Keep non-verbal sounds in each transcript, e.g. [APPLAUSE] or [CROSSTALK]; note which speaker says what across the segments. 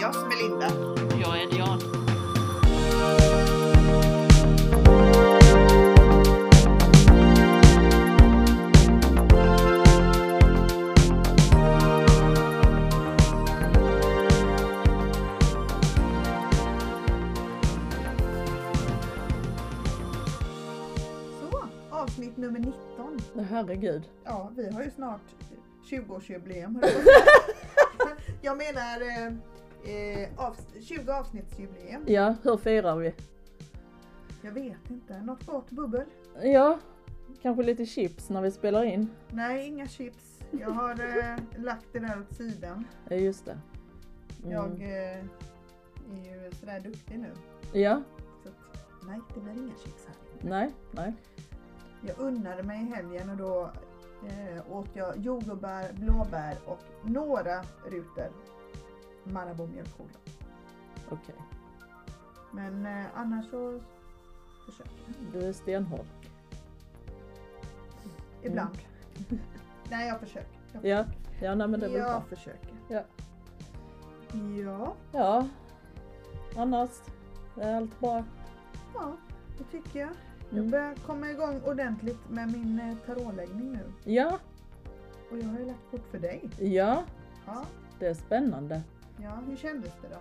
Speaker 1: jag som är Linda.
Speaker 2: Jag är Dian.
Speaker 1: Så, avsnitt nummer 19.
Speaker 3: Men herregud.
Speaker 1: Ja, vi har ju snart 20-årsjubileum. höll jag på att säga. jag menar eh, eh, avs- 20 avsnittsjubileum.
Speaker 3: Ja, hur firar vi? Jag
Speaker 1: Jag vet inte, något gott bubbel?
Speaker 3: Ja, kanske lite chips när vi spelar in.
Speaker 1: Nej, inga chips. Jag har eh, lagt det där åt sidan.
Speaker 3: Ja, just det. Mm.
Speaker 1: Jag eh, är ju sådär duktig nu.
Speaker 3: Ja,
Speaker 1: Så att, nej, det blir inga chips här.
Speaker 3: nej, nej.
Speaker 1: Jag unnade mig i helgen och då eh, åt jag jordgubbar, blåbär och några rutor Marabou mjölkkola.
Speaker 3: Okej.
Speaker 1: Men eh, annars så försöker
Speaker 3: Du är stenhård.
Speaker 1: jag. Ibland. [LAUGHS] Nej, jag försöker. Jag försöker.
Speaker 3: Mm. Ja, ja nej, men det är väl
Speaker 1: jag
Speaker 3: bra.
Speaker 1: försöker.
Speaker 3: Ja.
Speaker 1: Ja,
Speaker 3: Ja, annars är allt bra.
Speaker 1: ja, det tycker jag. Jag
Speaker 3: Mm.
Speaker 1: börjar komma igång ordentligt med min eh, tarotläggning nu.
Speaker 3: Ja,
Speaker 1: Och jag har ju lagt kort för dig.
Speaker 3: ja,
Speaker 1: Ja,
Speaker 3: det är spännande.
Speaker 1: ja hur kändes det då?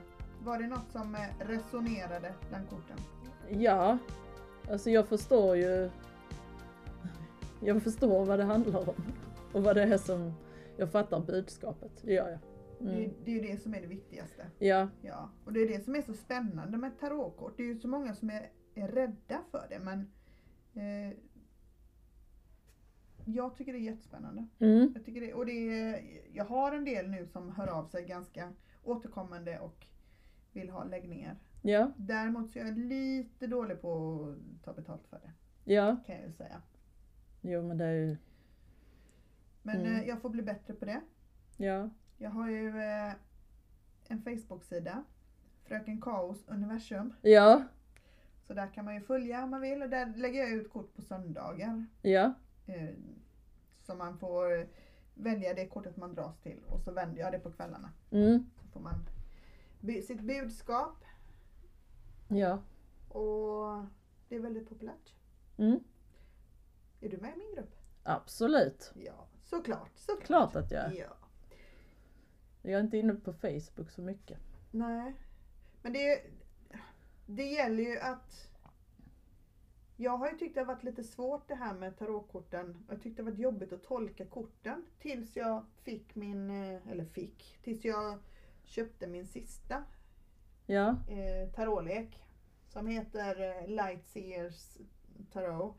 Speaker 1: Var det något som eh, resonerade bland korten?
Speaker 3: Ja, alltså jag förstår ju. Jag förstår vad det handlar om och vad det är som. Jag fattar budskapet, det gör jag.
Speaker 1: Det, är-
Speaker 3: Mm.
Speaker 1: det är ju det som är det viktigaste.
Speaker 3: Ja,
Speaker 1: Ja, och det är det som är så spännande med tarotkort. Det är ju så många som är, är rädda för det men eh, jag tycker det är jättespännande.
Speaker 3: mm.
Speaker 1: Jag, tycker det, och det är, jag har en del nu som hör av sig ganska återkommande och vill ha läggningar.
Speaker 3: ja,
Speaker 1: Däremot så är jag lite dålig på att ta betalt för det
Speaker 3: ja.
Speaker 1: kan jag ju säga.
Speaker 3: Jo men det är ju,
Speaker 1: Men
Speaker 3: Mm.
Speaker 1: eh, jag får bli bättre på det.
Speaker 3: ja.
Speaker 1: Jag har ju eh, en Facebook-sida, Fröken Kaos Universum.
Speaker 3: Ja,
Speaker 1: Så där kan man ju följa om man vill och där lägger jag ut kort på söndagar.
Speaker 3: ja,
Speaker 1: Eh, så man får välja det kortet man dras till och så vänder jag det på kvällarna.
Speaker 3: mm,
Speaker 1: Så får man bu- sitt budskap
Speaker 3: ja,
Speaker 1: och det är väldigt populärt.
Speaker 3: mm.
Speaker 1: Är du med i min grupp?
Speaker 3: Absolut.
Speaker 1: Ja, såklart. såklart.
Speaker 3: Klart att jag är.
Speaker 1: Ja.
Speaker 3: Jag är inte inne på Facebook så mycket.
Speaker 1: Nej. Men det, det gäller ju att jag har ju tyckt det har varit lite svårt det här med tarotkorten. Jag tyckte det har varit jobbigt att tolka korten tills jag fick min, eh, eller fick, tills jag köpte min sista
Speaker 3: Ja,
Speaker 1: eh, tarotlek som heter eh, Lightseers Tarot.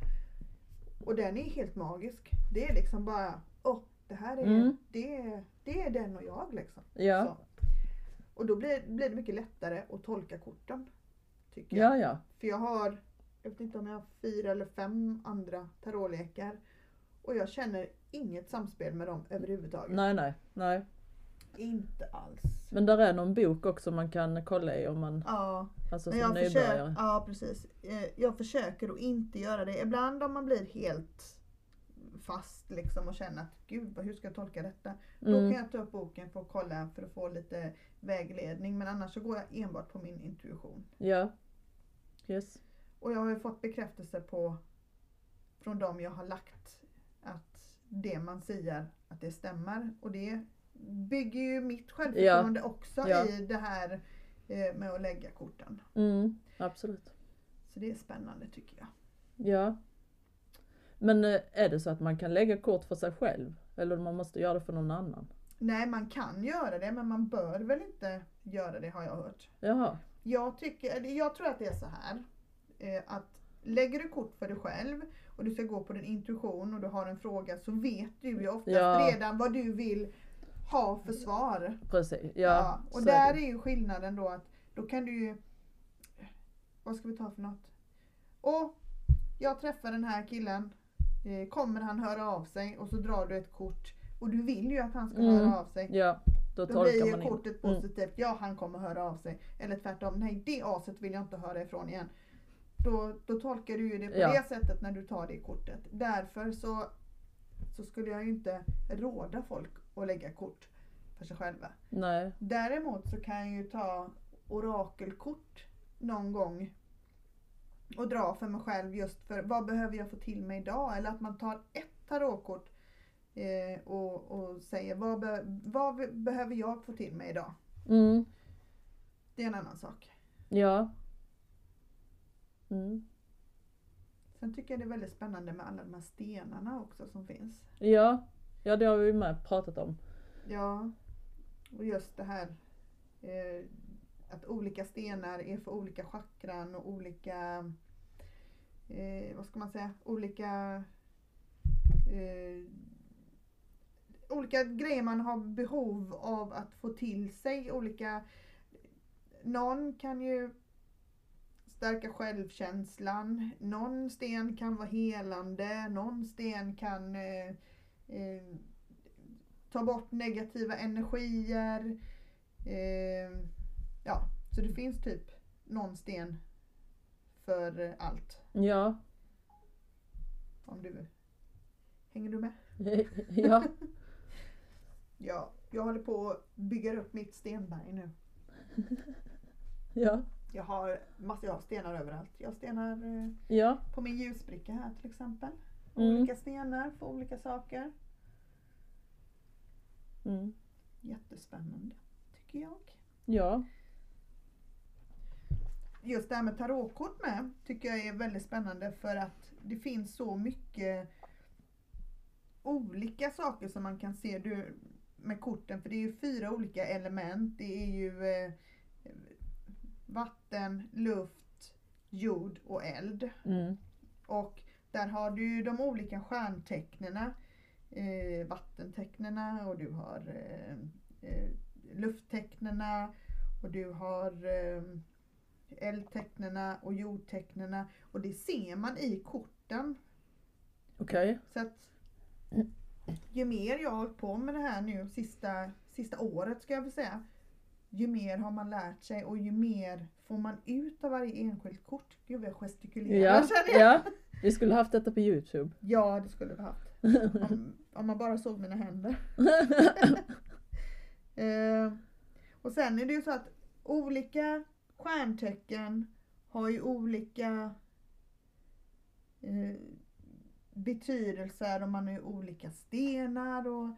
Speaker 1: Och den är helt magisk. Det är liksom bara, åh, det här är,
Speaker 3: Mm.
Speaker 1: det, är- det är den och jag liksom.
Speaker 3: ja,
Speaker 1: Så. Och då blir, blir det mycket lättare att tolka korten. Tycker jag.
Speaker 3: ja, ja,
Speaker 1: För jag har, jag vet inte om jag har fyra eller fem andra tarotlekar. Och jag känner inget samspel med dem överhuvudtaget.
Speaker 3: nej, nej, nej.
Speaker 1: Inte alls.
Speaker 3: Men där är någon bok också man kan kolla i om man,
Speaker 1: Ja,
Speaker 3: alltså
Speaker 1: men
Speaker 3: som
Speaker 1: jag, försöker,
Speaker 3: nybörjare.
Speaker 1: ja precis. Eh, jag försöker att inte göra det. Ibland om man blir helt fast liksom och känner att gud vad- hur ska jag tolka detta? Då
Speaker 3: Mm.
Speaker 1: kan jag ta upp boken för att kolla för att få lite vägledning men annars så går jag enbart på min intuition.
Speaker 3: Ja. Yes.
Speaker 1: Och jag har ju fått bekräftelse på från dem jag har lagt att det man säger att det stämmer och det bygger ju mitt självförtroende också
Speaker 3: Ja.
Speaker 1: i det här eh, med att lägga korten.
Speaker 3: Mm, absolut.
Speaker 1: Så det är spännande tycker jag.
Speaker 3: Ja. Men eh, är det så att man kan lägga kort för sig själv? Eller man måste göra det för någon annan?
Speaker 1: Nej man kan göra det men man bör väl inte göra det har jag hört.
Speaker 3: Jaha.
Speaker 1: Jag, tycker, eller jag tror att det är så här eh, att lägger du kort för dig själv och du ska gå på din intuition och du har en fråga så vet du ju oftast
Speaker 3: Ja.
Speaker 1: redan vad du vill ha för svar.
Speaker 3: Precis. Ja.
Speaker 1: Ja, och
Speaker 3: så
Speaker 1: där
Speaker 3: det.
Speaker 1: är ju skillnaden då att då kan du ju... Vad ska vi ta för något? Och jag träffar den här killen. Eh, Kommer han höra av sig och så drar du ett kort och du vill ju att han ska
Speaker 3: Mm.
Speaker 1: höra av sig.
Speaker 3: Ja,
Speaker 1: Då
Speaker 3: då,
Speaker 1: blir
Speaker 3: tolkar
Speaker 1: ju
Speaker 3: man in.
Speaker 1: kortet
Speaker 3: Mm.
Speaker 1: positivt. Ja, han kommer höra av sig. Eller tvärtom. Nej, det aset vill jag inte höra ifrån igen. Då, då tolkar du ju det på
Speaker 3: Ja.
Speaker 1: det sättet när du tar det kortet. Därför så, så skulle jag ju inte råda folk att lägga kort för för sig själva.
Speaker 3: Nej.
Speaker 1: Däremot så kan jag ju ta orakelkort någon gång och dra för mig själv just för vad behöver jag få till mig idag? Eller att man tar ett tarotkort eh, och, och säger vad, be, vad be- behöver jag få till mig idag?
Speaker 3: Mm.
Speaker 1: Det är en annan sak.
Speaker 3: Ja. Mm.
Speaker 1: Sen tycker jag det är väldigt spännande med alla de här stenarna också som finns.
Speaker 3: Ja. Ja, det har vi ju med pratat om.
Speaker 1: Ja, och just det här eh, att olika stenar är för olika chakran och olika, eh, vad ska man säga, olika eh, olika grejer man har behov av att få till sig. Olika, någon kan ju stärka självkänslan, någon sten kan vara helande, någon sten kan eh, eh, ta bort negativa energier. Eh, ja, så det finns typ någon sten för eh, allt.
Speaker 3: Ja. [LAUGHS]
Speaker 1: Om du Hänger du med?
Speaker 3: ja.
Speaker 1: Ja, jag håller på att bygga upp mitt stenberg nu.
Speaker 3: Ja.
Speaker 1: Jag har massor av stenar överallt. Jag har stenar eh,
Speaker 3: Ja.
Speaker 1: på min ljusbricka här till exempel.
Speaker 3: Mm.
Speaker 1: Olika stenar för olika saker.
Speaker 3: Mm.
Speaker 1: Jättespännande tycker jag.
Speaker 3: Ja.
Speaker 1: just det här med tarotkort med tycker jag är väldigt spännande för att det finns så mycket olika saker som man kan se du, med korten. För det är ju fyra olika element. Det är ju eh, vatten, luft, jord och eld.
Speaker 3: Mm.
Speaker 1: Och där har du ju de olika stjärntecknena. Eh, vattentecknena och du har eh, eh, lufttecknena och du har eh, eldtecknena och jordtecknena. Och det ser man i korten.
Speaker 3: Okej.
Speaker 1: Så att ju mer jag har hållit på med det här nu sista, sista året ska jag väl säga. Ju mer har man lärt sig och ju mer får man ut av varje enskilt kort. Gud vad jag gestikulerar
Speaker 3: Ja.
Speaker 1: känner jag.
Speaker 3: ja. Vi skulle haft detta på Youtube.
Speaker 1: Ja, det skulle vi haft. Om, om man bara såg mina händer. eh, och sen är det ju så att olika stjärntecken har ju olika eh, betydelser och man har ju olika stenar och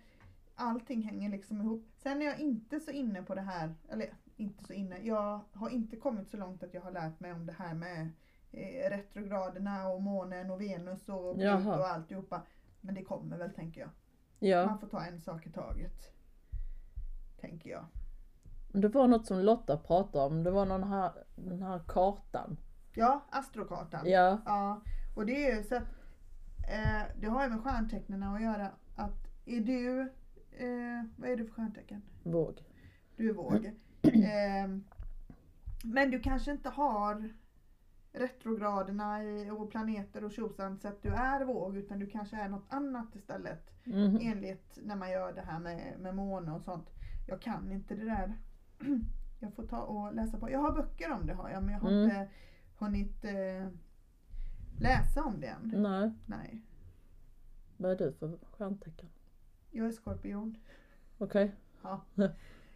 Speaker 1: allting hänger liksom ihop. Sen är jag inte så inne på det här, eller inte så inne, jag har inte kommit så långt att jag har lärt mig om det här med eh, retrograderna och månen och Venus och Pluto
Speaker 3: Jaha.
Speaker 1: och alltihopa. Men det kommer väl tänker jag.
Speaker 3: Ja.
Speaker 1: Man får ta en sak i taget. Tänker jag.
Speaker 3: Men Det var något som Lotta pratade om. Det var någon här, den här kartan.
Speaker 1: Ja, astrokartan.
Speaker 3: Ja.
Speaker 1: Ja, och det är ju så att eh, det har ju med stjärntecknen att göra. Att är du, eh, vad är du för stjärntecken?
Speaker 3: Våg.
Speaker 1: Du är våg.
Speaker 3: Mm.
Speaker 1: Ehm, men du kanske inte har retrograderna i, och planeter och tjosan så att du är våg utan du kanske är något annat istället.
Speaker 3: Mhm.
Speaker 1: Enligt när man gör det här med, med måne och sånt. Jag kan inte det där. [CLEARS THROAT] Jag får ta och läsa på. Jag har böcker om det har jag men jag har
Speaker 3: Mm.
Speaker 1: inte hunnit eh, läsa om det än.
Speaker 3: Nej.
Speaker 1: Nej,
Speaker 3: Vad är du för stjärntecken?
Speaker 1: jag är skorpion.
Speaker 3: Okej.
Speaker 1: Ja.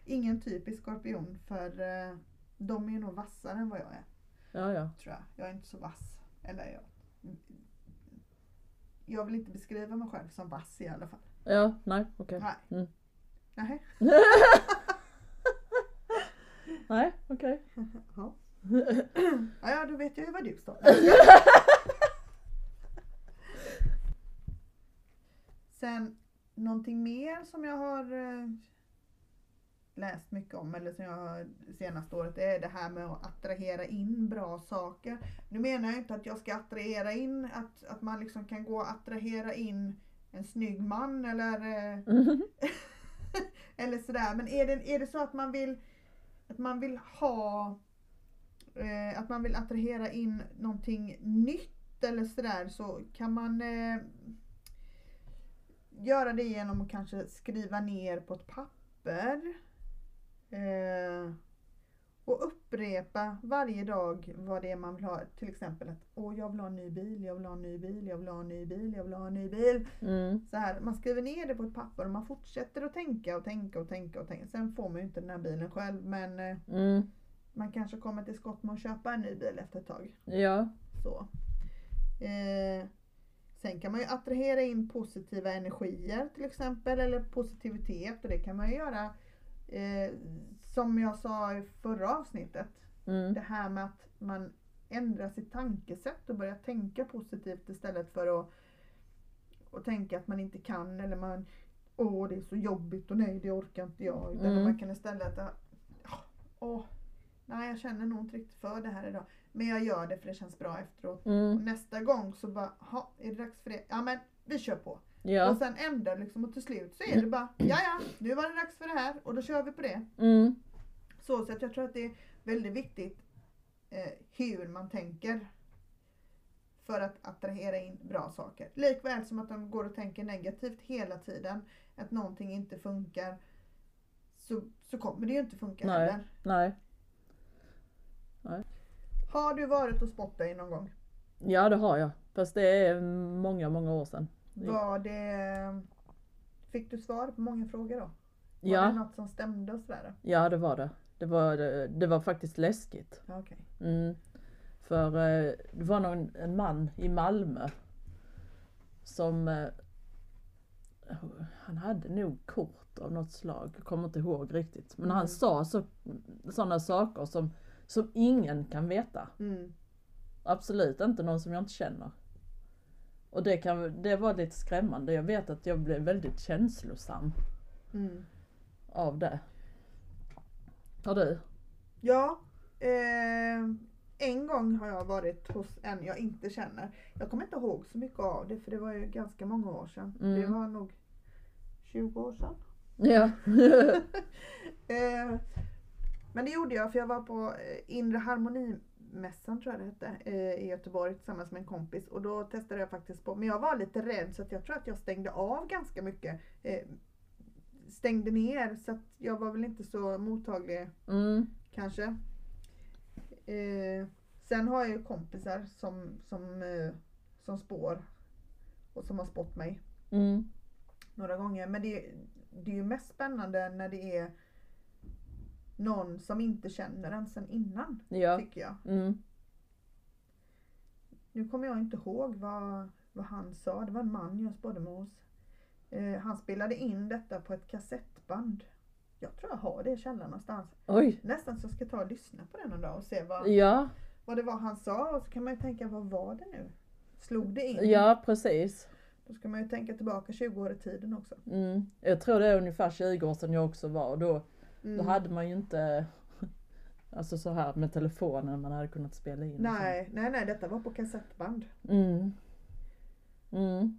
Speaker 1: Ingen typisk skorpion för eh, de är nog vassare än vad jag är.
Speaker 3: Ja, ja.
Speaker 1: Tror jag. jag är inte så vass. Eller jag... Jag vill inte beskriva mig själv som vass i alla fall.
Speaker 3: Ja, nej, okej.
Speaker 1: Nej.
Speaker 3: Mm.
Speaker 1: Nej.
Speaker 3: Nej, okej. [LAUGHS]
Speaker 1: Ja. ja, ja, då vet jag ju vad du står. Sen någonting mer som jag har eh, läst mycket om eller som jag har det senaste året det är det här med att attrahera in bra saker. Nu menar jag inte att jag ska attrahera in att, att man liksom kan gå och attrahera in en snygg man eller eh,
Speaker 3: Mhm.
Speaker 1: [LAUGHS] eller sådär. Men är det, är det så att man vill att man vill ha eh, att man vill attrahera in någonting nytt eller sådär så kan man eh, göra det genom att kanske skriva ner på ett papper eh, och uppre- upprepa varje dag vad det är man vill ha. Till exempel att Åh, jag vill ha en ny bil, jag vill ha en ny bil, jag vill ha en ny bil, jag vill ha en ny bil.
Speaker 3: Mm.
Speaker 1: Så här, man skriver ner det på ett papper och man fortsätter att tänka och tänka och tänka och tänka. Sen får man ju inte den här bilen själv men eh,
Speaker 3: Mm.
Speaker 1: man kanske kommer till skott med att köpa en ny bil efter ett tag.
Speaker 3: Ja.
Speaker 1: Så. Eh, sen kan man ju attrahera in positiva energier till exempel, eller positivitet. Och det kan man ju göra, eh, som jag sa i förra avsnittet,
Speaker 3: Mm.
Speaker 1: det här med att man ändrar sitt tankesätt och börjar tänka positivt istället för att och tänka att man inte kan eller man Åh det är så jobbigt och nej det orkar inte jag. Utan
Speaker 3: Mm.
Speaker 1: man kan istället "Ah, Åh, nej jag känner nog inte riktigt för det här idag. Men jag gör det för det känns bra efteråt. Och
Speaker 3: Mm.
Speaker 1: nästa gång så bara, ha, är det dags för det? Ja men vi kör på. Och
Speaker 3: Ja.
Speaker 1: sen ändrar liksom och till slut så är det bara, ja ja, nu var det dags för det här och då kör vi på det.
Speaker 3: Mm.
Speaker 1: Så, så att jag tror att det är väldigt viktigt eh, hur man tänker. För att attrahera in bra saker. Likväl som att de går och tänker negativt hela tiden. Att någonting inte funkar. Så, så kommer det ju inte funka
Speaker 3: Nej.
Speaker 1: heller.
Speaker 3: Nej.
Speaker 1: Har du varit och spottat dig någon gång?
Speaker 3: Ja det har jag. Fast det är många, många år sedan. Ja.
Speaker 1: Var det... Fick du svar på många frågor då? Var det
Speaker 3: Ja,
Speaker 1: något som stämde och sådär?
Speaker 3: ja det var det. Det var, det, det var faktiskt läskigt.
Speaker 1: Ja, Okej.
Speaker 3: Mm. För eh, det var någon, en man i Malmö som eh, han hade nog kort av något slag, jag kommer inte ihåg riktigt. Men
Speaker 1: Mm.
Speaker 3: han sa så, sådana saker som, som ingen kan veta.
Speaker 1: Mm.
Speaker 3: Absolut inte någon som jag inte känner. Och det, kan, det var lite skrämmande. Jag vet att jag blev väldigt känslosam
Speaker 1: Mm.
Speaker 3: av det. Har du?
Speaker 1: Ja. Eh, en gång har jag varit hos en jag inte känner. Jag kommer inte ihåg så mycket av det för det var ju ganska många år sedan.
Speaker 3: Mm.
Speaker 1: Det var nog 20 år sedan. [LAUGHS]
Speaker 3: Ja. [LAUGHS]
Speaker 1: Eh, men det gjorde jag för jag var på eh, Inre Harmonimässan tror jag det hette eh, i Göteborg tillsammans med en kompis och då testade jag faktiskt på men jag var lite rädd så att jag tror att jag stängde av ganska mycket. Eh, stängde ner så att jag var väl inte så mottaglig
Speaker 3: Mm.
Speaker 1: kanske. Eh, sen har jag ju kompisar som, som, eh, som spår och som har spått mig
Speaker 3: Mm.
Speaker 1: några gånger. Men det, det är ju mest spännande när det är någon som inte känner en sen innan.
Speaker 3: Ja.
Speaker 1: Tycker jag.
Speaker 3: Mm.
Speaker 1: Nu kommer jag inte ihåg vad, vad han sa. Det var en man jag spådde med hos. Eh, han spelade in detta på ett kassettband. Jag tror jag har det i källaren någonstans.
Speaker 3: Oj.
Speaker 1: Nästan så jag ska ta och lyssna på den någon dag och se vad,
Speaker 3: Ja.
Speaker 1: vad det var han sa. Och så kan man ju tänka, vad var det nu? Slog det in?
Speaker 3: ja, precis.
Speaker 1: Då ska man ju tänka tillbaka 20 år i tiden också.
Speaker 3: Mm. Jag tror det är ungefär 20 år sedan jag också var. Och Då,
Speaker 1: Mm.
Speaker 3: då hade man ju inte alltså så här med telefonen man hade kunnat spela in. och sånt.
Speaker 1: Nej, nej, nej, detta var på kassettband.
Speaker 3: Mm. Mm.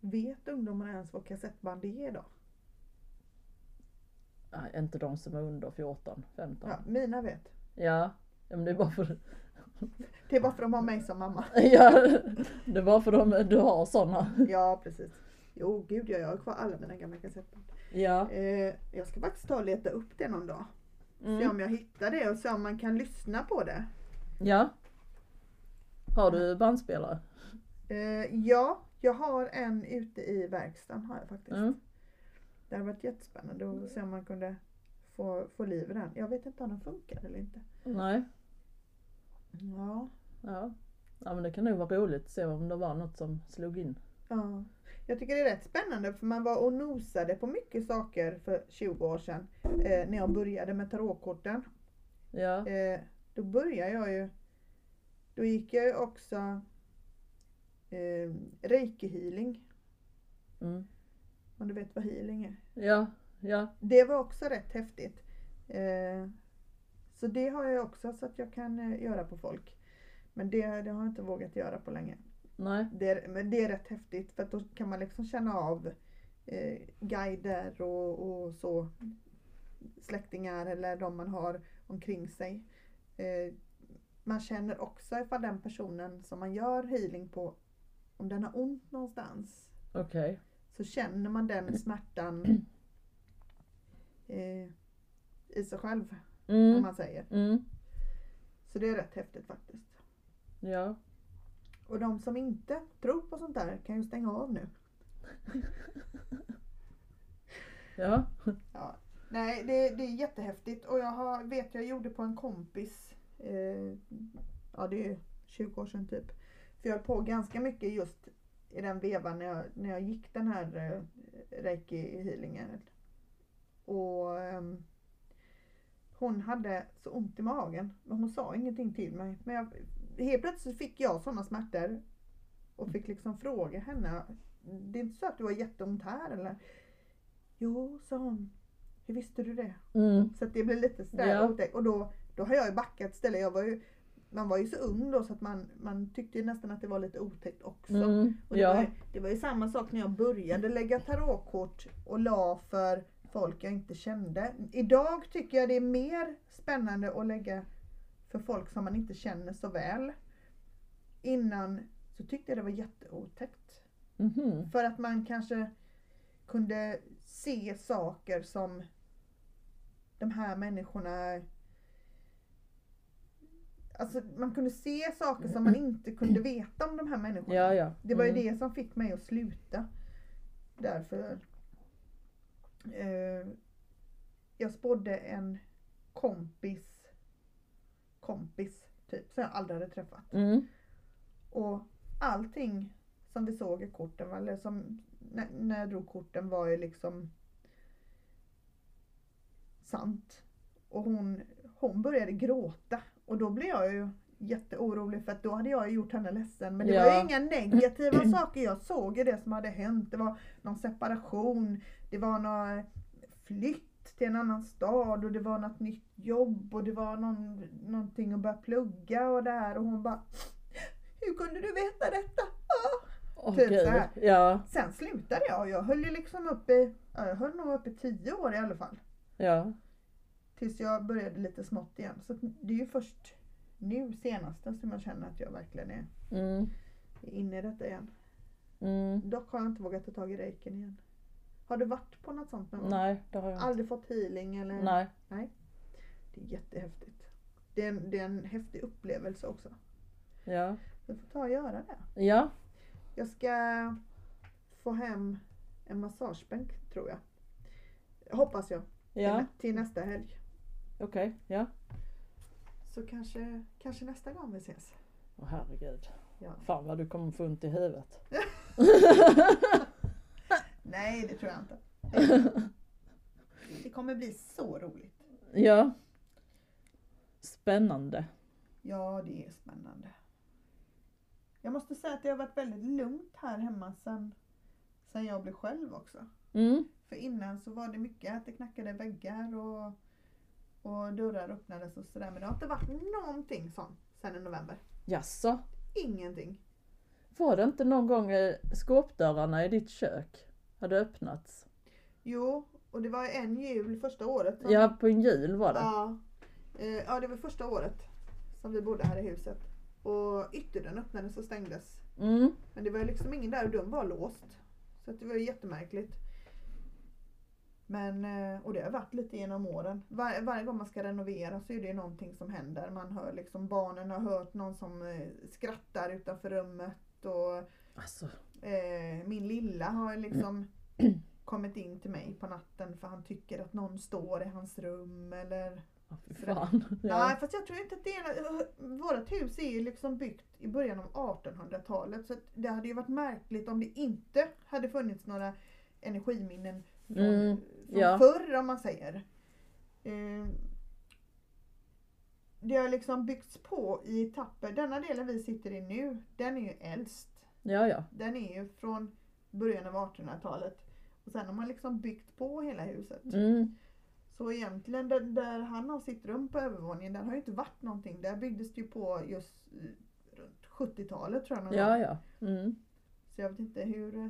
Speaker 1: Vet ungdomarna ens vad kassettband är idag?
Speaker 3: Nej, inte de som är under 14, 15.
Speaker 1: Ja, mina vet.
Speaker 3: Ja, ja men det är bara för, [LAUGHS]
Speaker 1: Det är bara för de har mig som mamma.
Speaker 3: ja, det är bara för dem du har sådana.
Speaker 1: Ja, precis. Jo, gud ja, jag har kvar alla mina gamla kassettband.
Speaker 3: Ja.
Speaker 1: Eh, jag ska faktiskt ta och leta upp det någon dag. Se
Speaker 3: Mm.
Speaker 1: om jag hittar det och se om man kan lyssna på det.
Speaker 3: ja. Har du bandspelare?
Speaker 1: Eh, ja, jag har en ute i verkstaden har jag faktiskt.
Speaker 3: Mm.
Speaker 1: Det hade varit jättespännande att se om man kunde få, få liv i den. Jag vet inte om den funkar eller inte.
Speaker 3: Nej.
Speaker 1: Ja,
Speaker 3: Ja. ja, men det kan nog vara roligt att se om det var något som slog in.
Speaker 1: ja. Jag tycker det är rätt spännande för man var och nosade på mycket saker för 20 år sedan. Eh, när jag började med tarotkorten.
Speaker 3: Ja,
Speaker 1: Eh, då började jag ju... Då gick jag ju också eh, reiki healing.
Speaker 3: mm.
Speaker 1: Om du vet vad healing är.
Speaker 3: ja, ja.
Speaker 1: Det var också rätt häftigt. Eh, så det har jag också så att jag kan eh, göra på folk. Men det, det har jag inte vågat göra på länge.
Speaker 3: Nej.
Speaker 1: Det är, men det är rätt häftigt för att då kan man liksom känna av eh, guider och, och så. Släktingar eller de man har omkring sig. Eh, man känner också ifall den personen som man gör healing på, om den har ont någonstans.
Speaker 3: Okej.
Speaker 1: Så känner man den smärtan eh, i sig själv. om
Speaker 3: Mm.
Speaker 1: man säger.
Speaker 3: Mm.
Speaker 1: Så det är rätt häftigt faktiskt.
Speaker 3: Ja.
Speaker 1: Och de som inte tror på sånt där kan ju stänga av nu.
Speaker 3: Ja.
Speaker 1: Ja. Nej, det, det är jättehäftigt och jag har, vet jag gjorde på en kompis, eh, ja det är 20 år sedan typ. För jag höll på ganska mycket just i den vevan när jag, när jag gick den här eh, reiki healingen. Och ehm, hon hade så ont i magen men hon sa ingenting till mig. Men jag, helt plötsligt fick jag sådana smärtor och fick liksom fråga henne. Det är inte så att du har jätteont här eller? Jo, sa hon. Hur visste du det?
Speaker 3: Mm.
Speaker 1: Så att det blev lite sådär
Speaker 3: Ja.
Speaker 1: otäckt. Och då, då har jag ju backat ställe. Jag var ju, man var ju så ung då så att man, man tyckte ju nästan att det var lite otäckt också.
Speaker 3: Mm.
Speaker 1: Och det,
Speaker 3: Ja.
Speaker 1: var, det var ju samma sak när jag började lägga tarotkort och la för folk jag inte kände. Idag tycker jag det är mer spännande att lägga för folk som man inte känner så väl. Innan så tyckte jag det var jätteotäckt.
Speaker 3: Mhm.
Speaker 1: För att man kanske kunde se saker som de här människorna Alltså man kunde se saker som man inte kunde veta om de här människorna.
Speaker 3: Ja, ja.
Speaker 1: Det var ju
Speaker 3: Mm.
Speaker 1: det som fick mig att sluta. Därför. Eh, jag spådde en kompis kompis typ som jag aldrig hade träffat.
Speaker 3: Mm.
Speaker 1: Och allting som vi såg i korten, va, eller som, när, när jag drog korten var ju liksom sant. Och hon, hon började gråta och då blev jag ju jätteorolig för att då hade jag ju gjort henne ledsen. Men det var
Speaker 3: Ja.
Speaker 1: ju inga negativa [CLEARS THROAT] saker jag såg i det som hade hänt. Det var någon separation, det var någon flytt till en annan stad och det var något nytt jobb och det var någon, någonting att börja plugga och där och hon bara hur kunde du veta detta? Ah.
Speaker 3: Åh
Speaker 1: Typ så
Speaker 3: gud.
Speaker 1: här.
Speaker 3: Ja.
Speaker 1: Sen slutade jag och jag höll ju liksom upp i, ja, jag höll nog upp i tio år i alla fall.
Speaker 3: Ja.
Speaker 1: Tills jag började lite smått igen. Så att det är ju först nu senaste som jag känner att jag verkligen är
Speaker 3: Mm.
Speaker 1: inne i detta igen.
Speaker 3: Mm.
Speaker 1: Dock har jag inte vågat ta tag i reiken igen. Har du varit på något sånt någon gång?
Speaker 3: Nej, det har jag inte.
Speaker 1: Aldrig fått healing eller?
Speaker 3: Nej.
Speaker 1: Det är jättehäftigt. Det är, en, det är en häftig upplevelse också.
Speaker 3: Ja.
Speaker 1: Jag får ta och göra det.
Speaker 3: Ja.
Speaker 1: Jag ska få hem en massagebänk tror jag. Hoppas jag.
Speaker 3: Ja.
Speaker 1: Till, till nästa helg.
Speaker 3: Okej. Ja.
Speaker 1: Så kanske, kanske nästa gång vi ses.
Speaker 3: Åh herregud.
Speaker 1: Ja.
Speaker 3: Fan vad du kommer få ont i huvudet.
Speaker 1: Nej, det tror jag inte. Det kommer bli så roligt.
Speaker 3: Ja. Spännande.
Speaker 1: Ja, det är spännande. Jag måste säga att det har varit väldigt lugnt här hemma sen, sen jag blev själv också.
Speaker 3: Mm.
Speaker 1: För innan så var det mycket att det knackade i väggar och, och dörrar öppnades och sådär. Men det har inte varit någonting sånt sen i november.
Speaker 3: Jaså?
Speaker 1: Ingenting.
Speaker 3: Var det inte någon gång eh, skåpdörrarna i ditt kök hade öppnats?
Speaker 1: Jo, och det var en jul första året. som-
Speaker 3: Ja, på en jul var det.
Speaker 1: ja. Eh, ja, det var första året som vi bodde här i huset. Och ytterdörren öppnades och stängdes.
Speaker 3: Mm.
Speaker 1: Men det var ju liksom ingen där och dörren var låst. Så att det var ju jättemärkligt. Men, eh, och det har varit lite genom åren. Var, varje gång man ska renovera så är det ju någonting som händer. Man hör liksom barnen har hört någon som eh, skrattar utanför rummet. Och
Speaker 3: Alltså,
Speaker 1: Eh, min lilla har liksom kommit in till mig på natten för han tycker att någon står i hans rum eller...
Speaker 3: ja, fy fan. Ja.
Speaker 1: Nej fast jag tror inte att det är... eh, Vårt hus är ju liksom byggt i början av 1800-talet så att det hade ju varit märkligt om det inte hade funnits några energiminnen från,
Speaker 3: Mm,
Speaker 1: från
Speaker 3: ja.
Speaker 1: förr om man säger. Eh, det har liksom byggts på i etapper. Denna delen vi sitter i nu, den är ju äldst.
Speaker 3: Ja, ja.
Speaker 1: Den är ju från början av 1800-talet. Och sen har man liksom byggt på hela huset.
Speaker 3: Mm.
Speaker 1: Så egentligen där, där han har sitt rum på övervåningen, där har ju inte varit någonting. Där byggdes det ju på just eh, runt 70-talet tror jag. någon
Speaker 3: Ja,
Speaker 1: gång.
Speaker 3: ja. Mm.
Speaker 1: Så jag vet inte hur eh,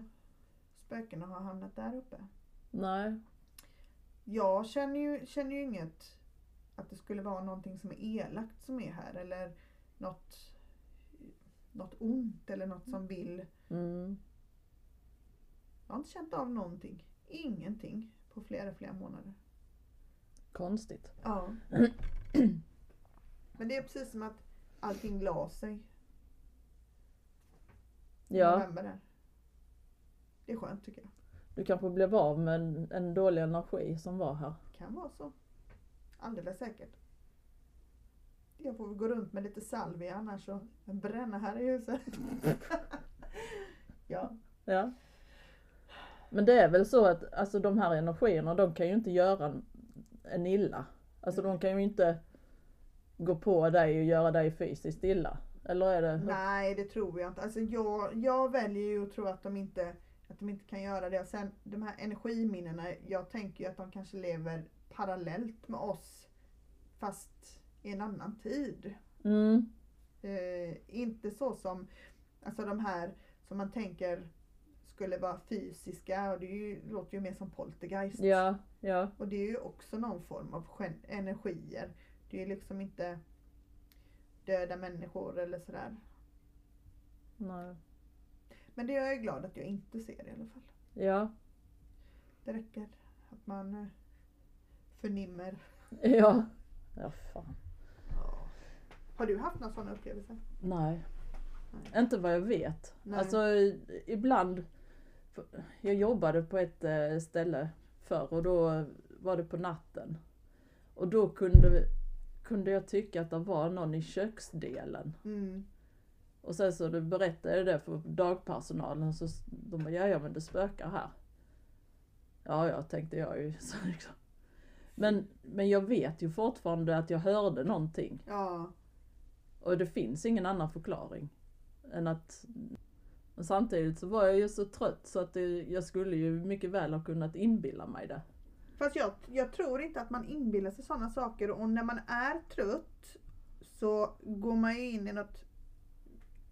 Speaker 1: spökena har hamnat där uppe.
Speaker 3: Nej.
Speaker 1: Jag känner ju, känner ju inget att det skulle vara någonting som är elakt som är här eller något, något ont eller något som vill
Speaker 3: Mm.
Speaker 1: Jag har inte känt av någonting. Ingenting på flera, flera månader.
Speaker 3: konstigt.
Speaker 1: Ja. Men det är precis som att allting la sig. i
Speaker 3: Ja,
Speaker 1: november där. Det är skönt tycker jag.
Speaker 3: du kanske blev av med en- en dålig energi som var här.
Speaker 1: Kan vara så. Alldeles säkert. Jag får väl gå runt med lite salvia annars och bränna här i huset. [LAUGHS] ja.
Speaker 3: Ja. Men det är väl så att alltså, de här energierna, de kan ju inte göra en- en illa. Alltså de kan ju inte gå på dig och göra dig fysiskt illa. Eller är det?
Speaker 1: Nej, det tror jag inte. Alltså jag, jag väljer ju att tro att de inte, att de inte kan göra det. Och sen de här energiminnena, jag tänker ju att de kanske lever parallellt med oss fast i en annan tid.
Speaker 3: Mm.
Speaker 1: Eh, inte så som alltså de här som man tänker skulle vara fysiska och det är ju, låter ju mer som poltergeist.
Speaker 3: Ja, ja.
Speaker 1: Och det är ju också någon form av gen- energier. Det är ju liksom inte döda människor eller sådär.
Speaker 3: Nej.
Speaker 1: Men det är jag ju glad att jag inte ser i alla fall.
Speaker 3: Ja,
Speaker 1: Det räcker att man eh, förnimmer.
Speaker 3: ja. Ja, fan.
Speaker 1: Har du haft några sådana upplevelser?
Speaker 3: Nej.
Speaker 1: Nej.
Speaker 3: Inte vad jag vet.
Speaker 1: Nej.
Speaker 3: Alltså i- ibland. Jag jobbade på ett eh, ställe förr och då var det på natten. Och då kunde, kunde jag tycka att det var någon i köksdelen.
Speaker 1: Mm.
Speaker 3: Och sen så berättade jag det för dagpersonalen så s- de bara, ja ja men det spökar här. Ja ja tänkte jag ju. [LAUGHS] Så liksom. men, men jag vet ju fortfarande att jag hörde någonting.
Speaker 1: Ja.
Speaker 3: Och det finns ingen annan förklaring. Än att... Men samtidigt så var jag ju så trött så att det, jag skulle ju mycket väl ha kunnat inbilla mig det.
Speaker 1: Fast jag, jag tror inte att man inbillar sig sådana saker och när man är trött så går man ju in i något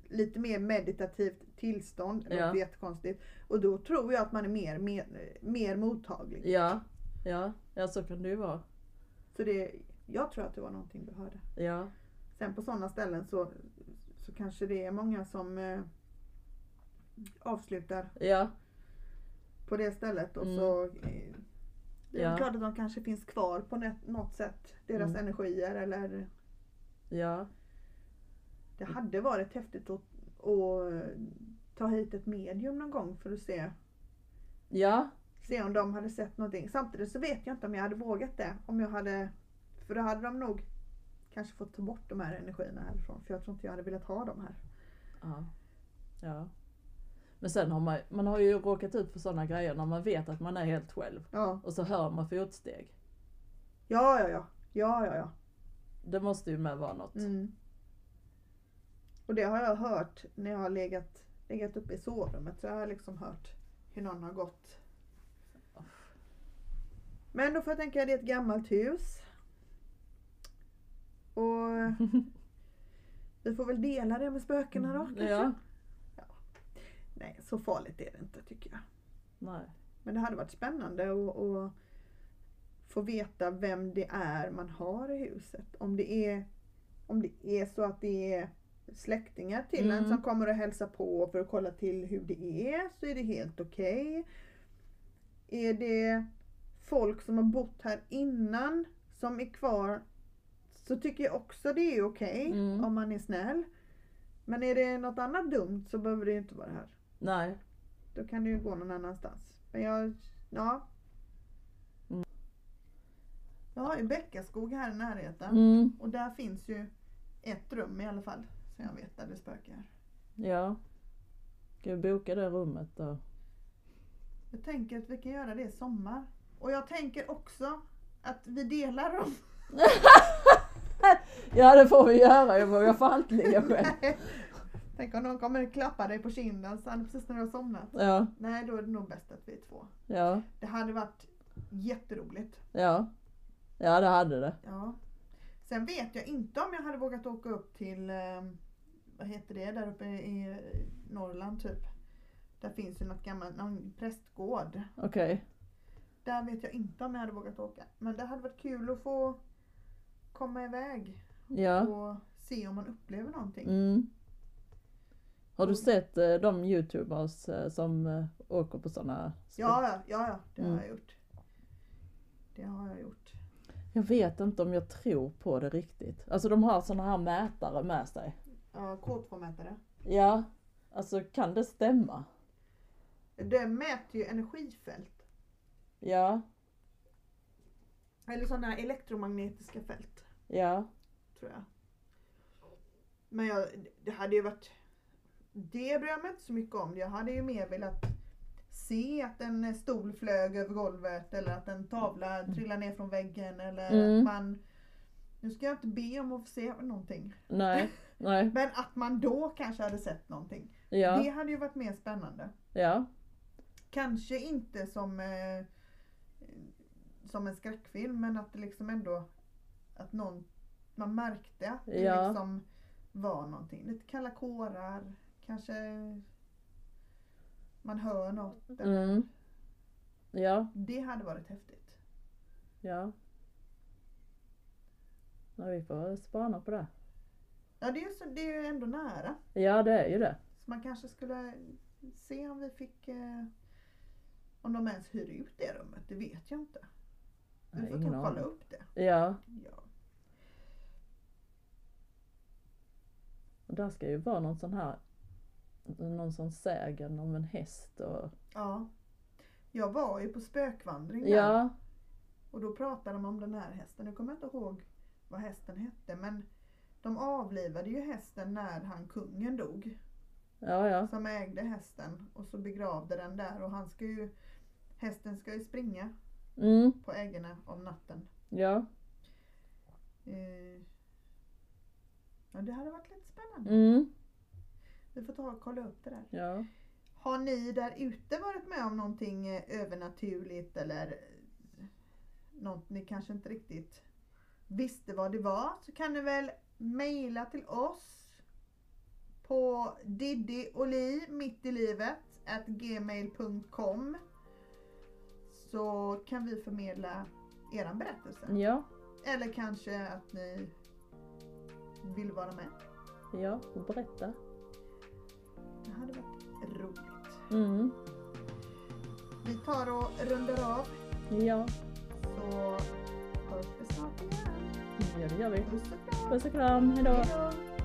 Speaker 1: lite mer meditativt tillstånd. Det
Speaker 3: Ja.
Speaker 1: låter jättekonstigt. Och då tror jag att man är mer, mer, mer mottaglig.
Speaker 3: Ja, ja, ja så kan det ju vara.
Speaker 1: Så det, jag tror att det var någonting du hörde.
Speaker 3: Ja,
Speaker 1: Sen på sådana ställen så, så kanske det är många som eh, avslutar
Speaker 3: ja,
Speaker 1: på det stället och
Speaker 3: Mm.
Speaker 1: så eh, det är
Speaker 3: Ja.
Speaker 1: väl klart att de kanske finns kvar på nä- något sätt. Deras
Speaker 3: Mm.
Speaker 1: energier eller
Speaker 3: ja,
Speaker 1: Det hade varit häftigt att, att ta hit ett medium någon gång för att se,
Speaker 3: ja,
Speaker 1: se om de hade sett någonting. Samtidigt så vet jag inte om jag hade vågat det. Om jag hade, för då hade de nog kanske fått ta bort de här energierna härifrån. För jag tror inte jag hade velat ha dem här.
Speaker 3: ja. ja. Men sen har man, man har ju råkat ut för sådana grejer när man vet att man är helt själv.
Speaker 1: Ja,
Speaker 3: Och så hör man fotsteg.
Speaker 1: ja, ja. Ja, ja, ja. ja.
Speaker 3: Det måste ju med vara något.
Speaker 1: Mm. Och det har jag hört när jag har legat, legat uppe i sovrummet. Så jag har liksom hört hur någon har gått. Men då får jag tänka, det är ett gammalt hus. Och vi får väl dela det med spökena då kanske?
Speaker 3: Mm, Ja,
Speaker 1: Nej, så farligt är det inte tycker jag.
Speaker 3: nej.
Speaker 1: Men det hade varit spännande att, att få veta vem det är man har i huset. Om det är, om det är så att det är släktingar till en
Speaker 3: Mm.
Speaker 1: som kommer och hälsar på för att kolla till hur det är så är det helt okej. Är det folk som har bott här innan som är kvar så tycker jag också det är okej
Speaker 3: Mm.
Speaker 1: om man är snäll. Men är det något annat dumt så behöver det ju inte vara här.
Speaker 3: Nej.
Speaker 1: Då kan det ju gå någon annanstans. Men jag, ja.
Speaker 3: Mm.
Speaker 1: Jag har ju Bäckaskog här i närheten.
Speaker 3: Mm.
Speaker 1: Och där finns ju ett rum i alla fall. Som jag vet där det spökar.
Speaker 3: Ja. Ska vi boka det rummet då?
Speaker 1: Jag tänker att vi kan göra det i sommar. Och jag tänker också att vi delar rum.
Speaker 3: Ja det får vi göra, jag vågar fan inte
Speaker 1: [LAUGHS]
Speaker 3: ligga själv.
Speaker 1: Tänk om någon kommer och klappar dig på kinden sen precis när du har somnat.
Speaker 3: Ja,
Speaker 1: Nej, då är det nog bäst att vi är två.
Speaker 3: ja,
Speaker 1: Det hade varit jätteroligt.
Speaker 3: ja. Ja det hade det.
Speaker 1: Ja. Sen vet jag inte om jag hade vågat åka upp till, eh, vad heter det, där uppe i Norrland typ. Där finns ju något gammalt, någon prästgård.
Speaker 3: Okej.
Speaker 1: Där vet jag inte om jag hade vågat åka. Men det hade varit kul att få komma iväg
Speaker 3: Ja.
Speaker 1: och se om man upplever någonting.
Speaker 3: Mm. Har du sett eh, de youtubers eh, som eh, åker på sådana?
Speaker 1: Ja, ja, ja, ja, det har
Speaker 3: Mm.
Speaker 1: jag gjort. Det har jag gjort.
Speaker 3: Jag vet inte om jag tror på det riktigt. Alltså de har såna här mätare med sig.
Speaker 1: Ja, K2-mätare.
Speaker 3: Ja, alltså kan det stämma?
Speaker 1: Det mäter ju energifält.
Speaker 3: Ja,
Speaker 1: Eller sådana elektromagnetiska fält.
Speaker 3: ja,
Speaker 1: Tror jag. Men jag, det hade ju varit... Det bryr jag mig inte så mycket om. Jag hade ju mer velat se att en stol flög över golvet eller att en tavla trillade ner från väggen eller
Speaker 3: Mm.
Speaker 1: att man... Nu ska jag inte be om att få se någonting.
Speaker 3: nej, nej,
Speaker 1: Men att man då kanske hade sett någonting.
Speaker 3: ja,
Speaker 1: Det hade ju varit mer spännande.
Speaker 3: ja,
Speaker 1: Kanske inte som, eh, som en skräckfilm men att det liksom ändå att någon, man märkte att det
Speaker 3: Ja.
Speaker 1: liksom var någonting. Lite kalla kårar, kanske man hör något. eller-
Speaker 3: mm. Ja,
Speaker 1: Det hade varit häftigt.
Speaker 3: ja. Ja, vi får spana på det.
Speaker 1: Ja det är, ju så, det är ju ändå nära.
Speaker 3: Ja, det är ju det.
Speaker 1: Så man kanske skulle se om vi fick eh, om de ens hyr ut det rummet, det vet jag inte. Vi
Speaker 3: Nej,
Speaker 1: får
Speaker 3: ingen
Speaker 1: ta och kolla
Speaker 3: aning.
Speaker 1: upp det.
Speaker 3: Ja,
Speaker 1: Ja.
Speaker 3: och där ska ju vara någon sån här någon sån sägen om en häst och...
Speaker 1: ja. Jag var ju på spökvandring där.
Speaker 3: Ja,
Speaker 1: Och då pratade de om den här hästen. Nu kommer jag inte ihåg vad hästen hette men de avlivade ju hästen när han kungen dog.
Speaker 3: ja, ja.
Speaker 1: Som ägde hästen och så begravde den där och han ska ju Hästen ska ju springa
Speaker 3: Mm,
Speaker 1: på ägorna om natten.
Speaker 3: ja,
Speaker 1: Eh, Ja, det hade varit lite spännande.
Speaker 3: mm,
Speaker 1: Vi får ta och kolla upp det där.
Speaker 3: ja.
Speaker 1: Har ni där ute varit med om någonting eh, övernaturligt eller eh, något ni kanske inte riktigt visste vad det var så kan ni väl mejla till oss på diddioli mittilivet at gmail.com så kan vi förmedla eran berättelse.
Speaker 3: Ja,
Speaker 1: Eller kanske att ni vill vara med.
Speaker 3: ja, och berätta.
Speaker 1: Det hade varit roligt.
Speaker 3: Mm,
Speaker 1: Vi tar och rundar av
Speaker 3: ja,
Speaker 1: Så hörs vi snart igen.
Speaker 3: Mm, ja, det gör vi.
Speaker 1: Puss och kram.
Speaker 3: Puss och kram, hejdå!
Speaker 1: Hej då.